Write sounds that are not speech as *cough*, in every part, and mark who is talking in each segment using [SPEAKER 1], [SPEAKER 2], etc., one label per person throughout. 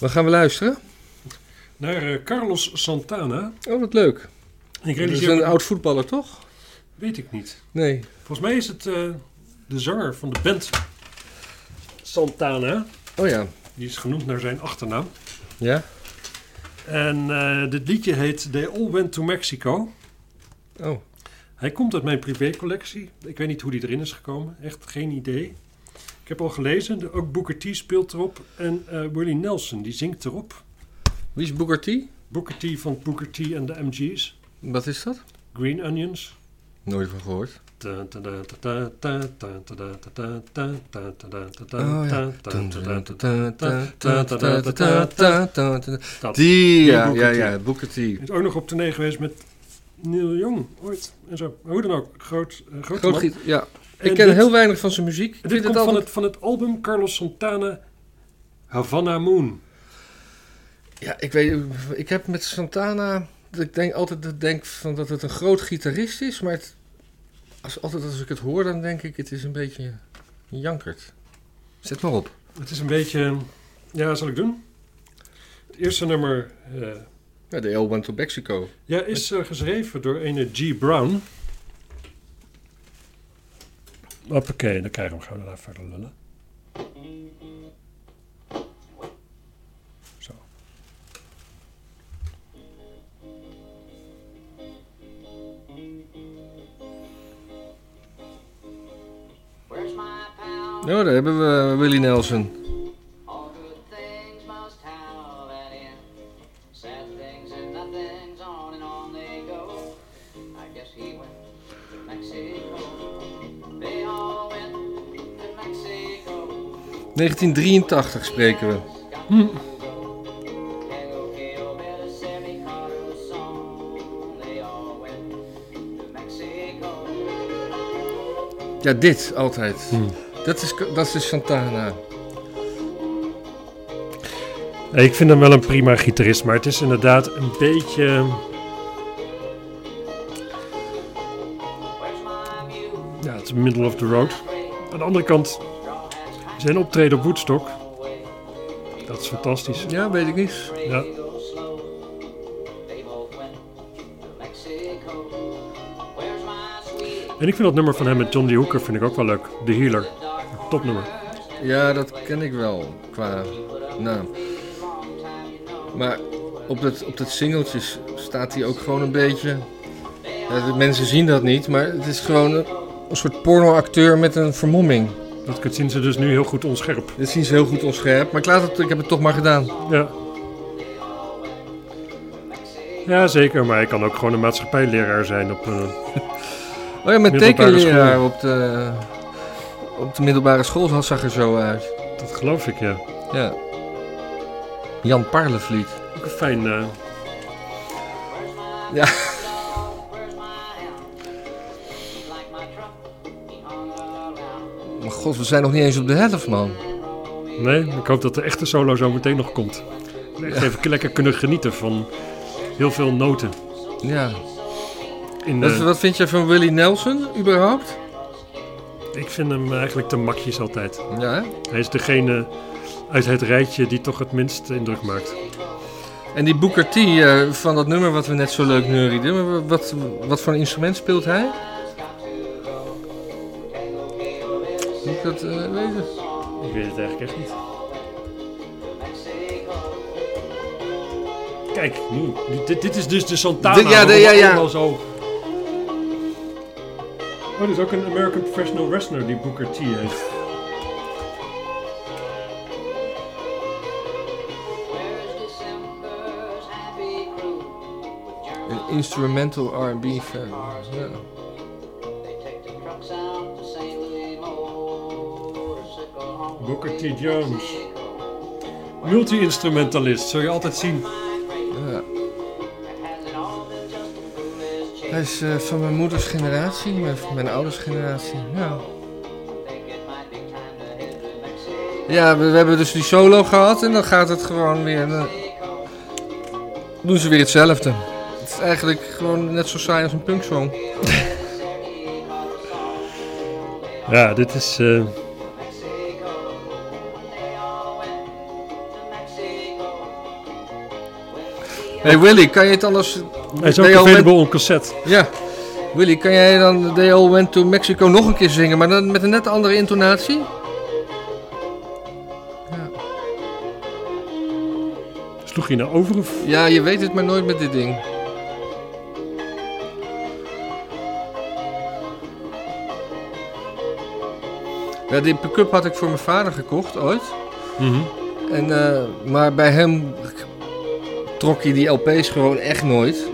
[SPEAKER 1] Waar gaan we luisteren?
[SPEAKER 2] Naar eh, Carlos Santana.
[SPEAKER 1] Oh, wat leuk.
[SPEAKER 2] Ik
[SPEAKER 1] Dat is
[SPEAKER 2] realiseer
[SPEAKER 1] een
[SPEAKER 2] me-
[SPEAKER 1] oud voetballer, toch?
[SPEAKER 2] Weet ik niet.
[SPEAKER 1] Nee.
[SPEAKER 2] Volgens mij is het eh, de zanger van de band Santana.
[SPEAKER 1] Oh ja.
[SPEAKER 2] Die is genoemd naar zijn achternaam.
[SPEAKER 1] Ja?
[SPEAKER 2] En eh, dit liedje heet They All Went to Mexico.
[SPEAKER 1] Oh.
[SPEAKER 2] Hij komt uit mijn privécollectie. Ik weet niet hoe die erin is gekomen. Echt geen idee. Ik heb al gelezen. de- Ook Booker T speelt erop. En eh, Willie Nelson, die zingt erop.
[SPEAKER 1] Wie is Booker T?
[SPEAKER 2] Booker T van Booker T en de MG's.
[SPEAKER 1] Wat is dat?
[SPEAKER 2] Green Onions.
[SPEAKER 1] Nooit van gehoord.
[SPEAKER 2] Oh, Dat.
[SPEAKER 1] Die, ja, ja,
[SPEAKER 2] Booker T.
[SPEAKER 1] ja, Booker T.
[SPEAKER 2] Is ook nog op tournee geweest met Neil Young ooit. En zo. Maar hoe dan ook. Groot, eh, grote
[SPEAKER 1] Groot
[SPEAKER 2] man.
[SPEAKER 1] giet, ja.
[SPEAKER 2] En
[SPEAKER 1] Ik ken
[SPEAKER 2] dit-
[SPEAKER 1] heel weinig van zijn muziek. Ik
[SPEAKER 2] Dit
[SPEAKER 1] vind
[SPEAKER 2] komt
[SPEAKER 1] het
[SPEAKER 2] van,
[SPEAKER 1] altijd...
[SPEAKER 2] het, van het album Carlos Santana Havana Moon.
[SPEAKER 1] Ja, ik weet, ik heb met Santana, dat ik denk altijd dat ik denk van dat het een groot gitarist is, maar het, als, altijd als ik het hoor, dan denk ik, het is een beetje een jankert. Zet maar op.
[SPEAKER 2] Het is een beetje... Ja, zal ik doen? Het eerste nummer eh,
[SPEAKER 1] Ja, de L went to Mexico.
[SPEAKER 2] ja, is eh, geschreven door een eh, G. Brown. Hoppakee, dan krijgen we hem gauw daarna verder lullen. Zo.
[SPEAKER 3] Where's my pal?
[SPEAKER 1] Nou, daar hebben we Willie Nelson.
[SPEAKER 3] All good things must have an end. Sad things and nothings on and on they go. I guess he went to Mexico. They all went to Mexico.
[SPEAKER 1] 1983 spreken we.
[SPEAKER 3] Got
[SPEAKER 2] Hm.
[SPEAKER 3] to go. Can't go kill Bill Sammy Carter's song. They all went to Mexico.
[SPEAKER 1] Ja, dit altijd. Dat, is, dat is Santana.
[SPEAKER 2] Ja, Ik vind hem wel een prima gitarist, maar het is inderdaad een beetje.
[SPEAKER 3] Where's my mule?
[SPEAKER 2] Ja, het is middle of the road.
[SPEAKER 3] Great
[SPEAKER 2] Aan de andere kant,
[SPEAKER 3] straw hats packed
[SPEAKER 2] zijn optreden op Woodstock,
[SPEAKER 3] away.
[SPEAKER 2] dat is fantastisch.
[SPEAKER 1] Ja, weet ik niet.
[SPEAKER 2] Ja. En ik vind dat nummer van hem met John D. Hooker vind ik ook wel leuk. De Healer. Topnummer.
[SPEAKER 1] Ja, dat ken ik wel qua naam. Maar op dat, op dat singeltje staat hij ook gewoon een beetje. Ja, de mensen zien dat niet, maar het is gewoon een, een soort pornoacteur met een vermomming.
[SPEAKER 2] Dat zien ze dus nu heel goed onscherp.
[SPEAKER 1] Dat zien ze heel goed onscherp, maar ik, laat het, ik heb het toch maar gedaan.
[SPEAKER 2] Ja. Ja, zeker, maar hij kan ook gewoon een maatschappijleraar zijn. Op, eh,
[SPEAKER 1] Oh ja, mijn
[SPEAKER 2] Middelbare
[SPEAKER 1] tekenleraar op de, op de middelbare school had- zag er zo uit.
[SPEAKER 2] dat geloof ik, ja.
[SPEAKER 1] Ja. Jan Parlevliet.
[SPEAKER 2] Ook een fijn. eh,
[SPEAKER 1] Ja. Maar god, we zijn nog niet eens op de helft, man.
[SPEAKER 2] nee, ik hoop dat de echte solo zo meteen nog komt. Echt even lekker kunnen genieten van heel veel noten.
[SPEAKER 1] Ja.
[SPEAKER 2] In,
[SPEAKER 1] Wat,
[SPEAKER 2] eh,
[SPEAKER 1] wat vind jij van Willie Nelson, überhaupt?
[SPEAKER 2] Ik vind hem eigenlijk te makjes altijd.
[SPEAKER 1] Ja, hè?
[SPEAKER 2] Hij is degene uit het rijtje die toch het minste indruk maakt.
[SPEAKER 1] En die Booker T eh, van dat nummer wat we net zo leuk neurieden, wa- wat, wat voor een instrument speelt hij? Moet ik dat eh, weten?
[SPEAKER 2] Ik weet het eigenlijk echt niet. Kijk, nu. Dit- Dit, dit is dus de Santana.
[SPEAKER 1] Dit- ja, de-
[SPEAKER 2] waarom
[SPEAKER 1] ja, ja.
[SPEAKER 2] allemaal Zo... Oh, dit is ook een American Professional Wrestler die Booker T heeft.
[SPEAKER 1] Een instrumental R&B fan. Ja.
[SPEAKER 2] Booker T. Jones. Multi-instrumentalist, zul je altijd zien.
[SPEAKER 1] Ja. Hij is eh, van mijn moeders generatie, mijn, van mijn ouders generatie. Nou. Ja, ja we, we hebben dus die solo gehad en dan gaat het gewoon weer... eh, doen ze weer hetzelfde. Het is eigenlijk gewoon net zo saai als een punksong.
[SPEAKER 2] Ja, dit is... eh,
[SPEAKER 3] Mexico, they all went to Mexico.
[SPEAKER 1] Hey Willy, kan je het anders...
[SPEAKER 2] Hij is ook
[SPEAKER 1] They all went-
[SPEAKER 2] available on cassette.
[SPEAKER 1] Ja. Willy, kan jij dan They All Went To Mexico nog een keer zingen, maar dan met een net andere intonatie?
[SPEAKER 2] Sloeg je nou over of...
[SPEAKER 1] Ja, je weet het maar nooit met dit ding. Ja, die pick-up had ik voor mijn vader gekocht ooit.
[SPEAKER 2] Mhm.
[SPEAKER 1] En, eh, maar bij hem trok hij die LP's gewoon echt nooit.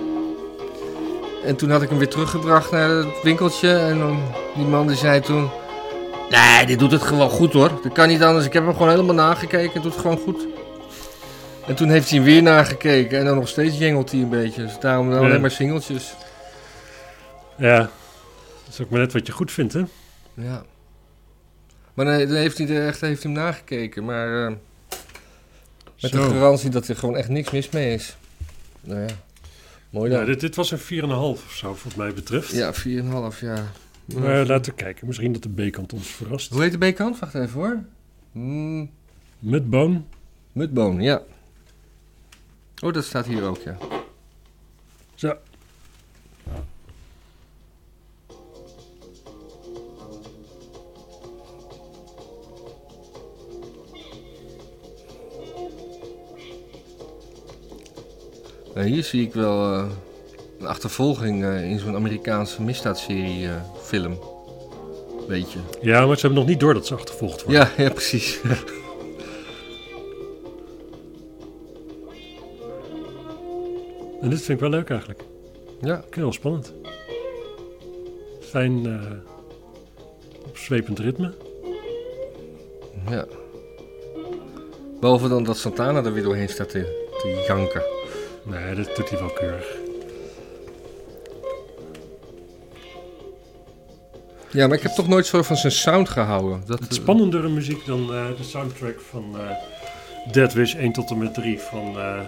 [SPEAKER 1] En toen had ik hem weer teruggebracht naar het winkeltje. En dan- die man die zei toen... Nee, dit doet het gewoon goed hoor. Dat kan niet anders. Ik heb hem gewoon helemaal nagekeken. Het doet het gewoon goed. En toen heeft hij hem weer nagekeken. En dan nog steeds jengelt hij een beetje. Dus daarom dan
[SPEAKER 2] Ja.
[SPEAKER 1] alleen maar singeltjes.
[SPEAKER 2] Ja. Dat is ook maar net wat je goed vindt, hè?
[SPEAKER 1] Ja. Maar nee, dan heeft hij er echt heeft hij hem nagekeken. Maar eh, met de
[SPEAKER 2] Zo.
[SPEAKER 1] garantie dat er gewoon echt niks mis mee is. Nou ja. Mooi
[SPEAKER 2] Ja,
[SPEAKER 1] dan.
[SPEAKER 2] dit, dit was een 4,5 of zo, wat mij betreft.
[SPEAKER 1] Ja, 4,5 jaar.
[SPEAKER 2] Maar Eh, laten we kijken. Misschien dat de B-kant ons verrast.
[SPEAKER 1] Hoe heet de B-kant? Wacht even hoor. Mm,
[SPEAKER 2] Met boon.
[SPEAKER 1] Mudboon, ja. Oh, dat staat hier ook, ja.
[SPEAKER 2] Zo.
[SPEAKER 1] Nou, hier zie ik wel eh, een achtervolging eh, in zo'n Amerikaanse misdaadserie eh, film. Weet je.
[SPEAKER 2] Ja, maar ze hebben nog niet door dat ze achtervolgd worden.
[SPEAKER 1] Ja, *laughs* ja, precies.
[SPEAKER 2] En dit vind ik wel leuk eigenlijk.
[SPEAKER 1] ja.
[SPEAKER 2] Ik vind het wel spannend. Fijn eh opzwepend ritme.
[SPEAKER 1] Ja. Behalve dan dat Santana er weer doorheen staat te, te janken.
[SPEAKER 2] Nee, dat doet hij wel keurig.
[SPEAKER 1] Ja, maar ik heb toch nooit zo van zijn sound gehouden. Dat,
[SPEAKER 2] Het is spannendere muziek dan eh, de soundtrack van eh, Dead Wish 1 tot en met 3 van eh,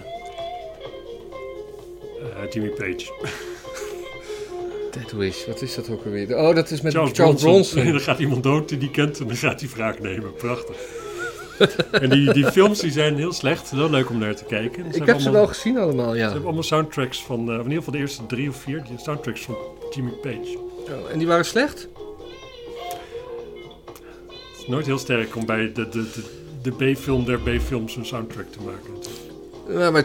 [SPEAKER 2] eh, Jimmy Page.
[SPEAKER 1] Dead Wish, wat is dat ook alweer? Oh, dat is met Charles,
[SPEAKER 2] Bronson.
[SPEAKER 1] *laughs* Bronson.
[SPEAKER 2] dan gaat iemand dood die die kent en dan gaat hij wraak nemen. Prachtig. *laughs* en die, die films die zijn heel slecht. Heel leuk om naar te kijken.
[SPEAKER 1] Ik heb ze wel gezien allemaal,
[SPEAKER 2] Ze
[SPEAKER 1] ja.
[SPEAKER 2] hebben allemaal soundtracks van, eh, of in ieder geval de eerste drie of vier, die soundtracks van Jimmy Page.
[SPEAKER 1] Oh, En die waren slecht?
[SPEAKER 2] Het is nooit heel sterk om bij de, de, de, de B-film der B-films een soundtrack te maken.
[SPEAKER 1] Ja, Nou, maar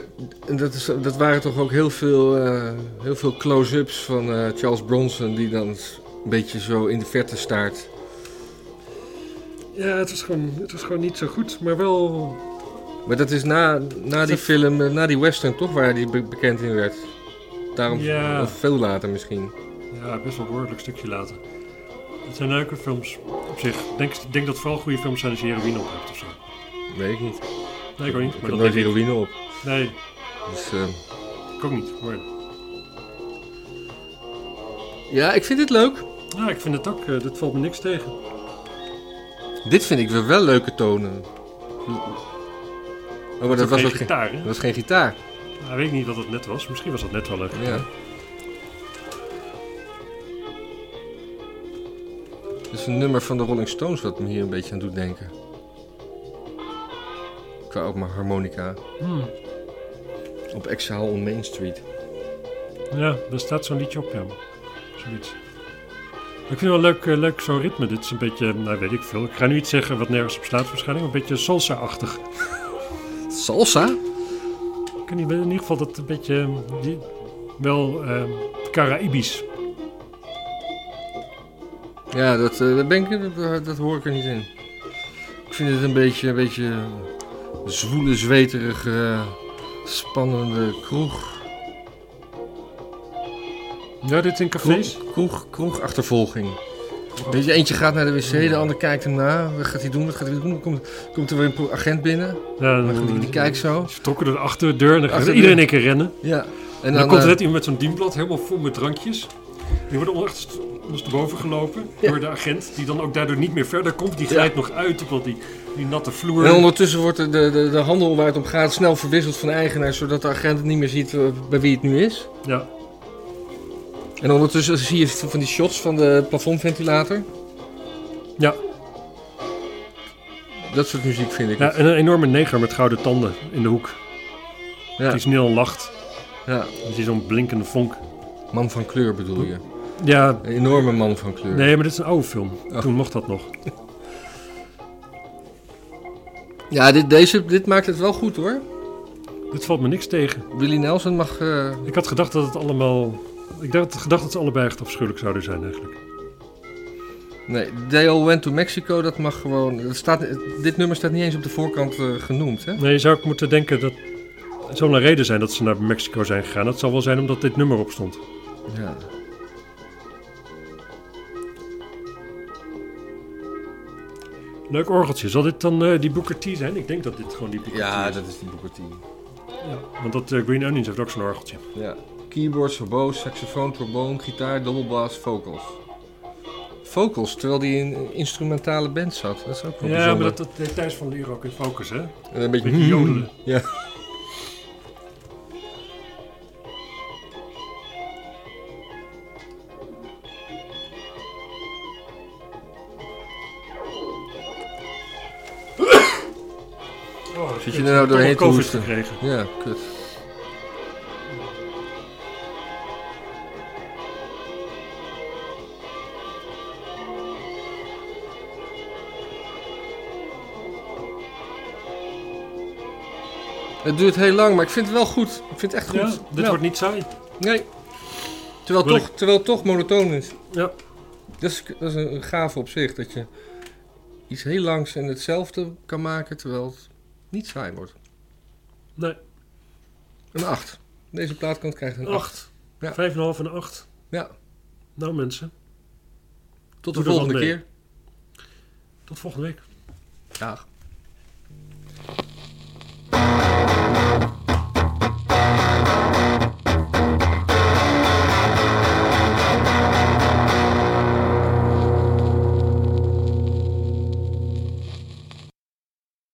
[SPEAKER 1] dat, is, dat waren toch ook heel veel, eh, heel veel close-ups van eh, Charles Bronson... die dan een beetje zo in de verte staart.
[SPEAKER 2] Ja, het was, gewoon, het was gewoon niet zo goed, maar wel...
[SPEAKER 1] Maar dat is na, na die film, eh, na die western toch, waar hij be- bekend in werd. Daarom
[SPEAKER 2] Ja.
[SPEAKER 1] of veel later misschien.
[SPEAKER 2] Ja, best wel behoorlijk stukje later. Het zijn leuke films op zich. Ik denk, ik denk dat vooral goede films zijn als je heroïne op hebt of zo.
[SPEAKER 1] Weet ik niet.
[SPEAKER 2] Nee, ik ook niet.
[SPEAKER 1] Ik heb
[SPEAKER 2] Maar dat
[SPEAKER 1] nooit
[SPEAKER 2] denk ik.
[SPEAKER 1] heroïne op.
[SPEAKER 2] Nee,
[SPEAKER 1] Dus, eh,
[SPEAKER 2] ik ook niet. Maar,
[SPEAKER 1] ja, ik vind dit leuk.
[SPEAKER 2] ja, ik vind het ook, eh, dit valt me niks tegen.
[SPEAKER 1] Dit vind ik weer wel leuke tonen. Oh, maar dat was,
[SPEAKER 2] geen
[SPEAKER 1] ook geen,
[SPEAKER 2] gitaar, hè?
[SPEAKER 1] dat was geen gitaar.
[SPEAKER 2] Nou, weet ik niet wat het net was. Misschien was dat net wel leuk.
[SPEAKER 1] Ja. Dit is een nummer van de Rolling Stones wat me hier een beetje aan doet denken. Qua ook maar harmonica.
[SPEAKER 2] Hmm.
[SPEAKER 1] Op Exile on Main Street.
[SPEAKER 2] Ja, daar staat zo'n liedje op, ja. Zoiets. Maar ik vind het wel leuk, eh, leuk zo'n ritme. Dit is een beetje, nou weet ik veel. Ik ga nu iets zeggen wat nergens op slaat waarschijnlijk. maar Een beetje salsa-achtig.
[SPEAKER 1] Salsa?
[SPEAKER 2] Ik weet niet, in ieder geval dat een beetje, eh, die- wel eh, Caraïbisch.
[SPEAKER 1] Ja, dat, eh, dat, ben ik, dat, dat hoor ik er niet in. Ik vind het een beetje, een beetje zwoele, zweterige, eh, spannende kroeg.
[SPEAKER 2] Ja, dit in cafés.
[SPEAKER 1] Kroeg, kroeg, kroegachtervolging. Weet je, eentje gaat naar de wc, de ander kijkt hem na. Wat gaat hij doen? Wat gaat hij doen? Dan Komt, komt er weer een po- agent binnen.
[SPEAKER 2] Ja,
[SPEAKER 1] Maar goed,
[SPEAKER 2] dan-
[SPEAKER 1] die, die kijkt zo.
[SPEAKER 2] Ze trokken door de achterdeur en dan gaat
[SPEAKER 1] Achterdeur.
[SPEAKER 2] iedereen een keer rennen. En
[SPEAKER 1] Ja. En
[SPEAKER 2] dan,
[SPEAKER 1] dan,
[SPEAKER 2] komt er
[SPEAKER 1] eh,
[SPEAKER 2] net iemand met zo'n dienblad helemaal vol met drankjes. Die worden onderst- ondersteboven gelopen door de agent, die dan ook daardoor niet meer verder komt. Die glijdt nog uit op dat die, die natte vloer.
[SPEAKER 1] en ondertussen wordt de, de, de, de handel waar het om gaat snel verwisseld van eigenaar, zodat de agent het niet meer ziet eh, bij wie het nu is.
[SPEAKER 2] Ja,
[SPEAKER 1] En ondertussen zie je van die shots van de plafondventilator.
[SPEAKER 2] ja.
[SPEAKER 1] Dat soort muziek vind ik.
[SPEAKER 2] Ja,
[SPEAKER 1] het.
[SPEAKER 2] en een enorme neger met gouden tanden in de hoek.
[SPEAKER 1] Ja.
[SPEAKER 2] Die snel lacht.
[SPEAKER 1] Ja,
[SPEAKER 2] Dan zie je zo'n blinkende vonk.
[SPEAKER 1] man van kleur bedoel je.
[SPEAKER 2] Ja,
[SPEAKER 1] Een enorme man van kleur.
[SPEAKER 2] nee, maar dit is een oude film.
[SPEAKER 1] Oh.
[SPEAKER 2] Toen mocht dat nog.
[SPEAKER 1] Ja, dit, deze, dit maakt het wel goed hoor.
[SPEAKER 2] Dit valt me niks tegen.
[SPEAKER 1] Willy Nelson mag... eh,
[SPEAKER 2] Ik had gedacht dat het allemaal... Ik dacht, gedacht dat ze allebei echt afschuwelijk zouden zijn eigenlijk.
[SPEAKER 1] nee, They All Went to Mexico, dat mag gewoon... Dat staat, dit nummer staat niet eens op de voorkant eh, genoemd, hè?
[SPEAKER 2] Nee, je zou ook moeten denken dat... Het zou wel een reden zijn dat ze naar Mexico zijn gegaan. Dat zal wel zijn omdat dit nummer op stond.
[SPEAKER 1] Ja.
[SPEAKER 2] Leuk orgeltje. Zal dit dan eh, die Booker T zijn? Ik denk dat dit gewoon die Booker T is.
[SPEAKER 1] is die Booker T.
[SPEAKER 2] Ja, want dat eh, Green Onions heeft ook zo'n orgeltje.
[SPEAKER 1] Ja. Keyboards, verboos, saxofoon, trombone, gitaar, dubbelbas, vocals. Vocals, terwijl die in een instrumentale band zat. Dat is ook wel
[SPEAKER 2] Ja, maar
[SPEAKER 1] bijzonder.
[SPEAKER 2] dat, dat deed Thijs van Leer ook in Focus, hè?
[SPEAKER 1] En een beetje, hmm.
[SPEAKER 2] beetje jodelen.
[SPEAKER 1] Ja.
[SPEAKER 2] Oh,
[SPEAKER 1] Zit je er nou doorheen te hoesten?
[SPEAKER 2] gekregen.
[SPEAKER 1] ja, kut. Het duurt heel lang, maar ik vind het wel goed. Ik vind het echt goed.
[SPEAKER 2] Ja, dit
[SPEAKER 1] Ja.
[SPEAKER 2] wordt niet saai.
[SPEAKER 1] Nee. Terwijl,
[SPEAKER 2] Wil
[SPEAKER 1] toch, terwijl het toch monotoon is.
[SPEAKER 2] Ja.
[SPEAKER 1] Dat is, dat is een, een gave op zich. Dat je iets heel langs en hetzelfde kan maken terwijl het niet saai wordt.
[SPEAKER 2] Nee,
[SPEAKER 1] Een 8. Deze plaatkant krijgt een 8.
[SPEAKER 2] 8.
[SPEAKER 1] Ja.
[SPEAKER 2] 5,5 en 8.
[SPEAKER 1] Ja.
[SPEAKER 2] Nou mensen,
[SPEAKER 1] Tot
[SPEAKER 2] Doe
[SPEAKER 1] de
[SPEAKER 2] er wat
[SPEAKER 1] volgende
[SPEAKER 2] mee.
[SPEAKER 1] keer.
[SPEAKER 2] tot volgende week.
[SPEAKER 1] Dag.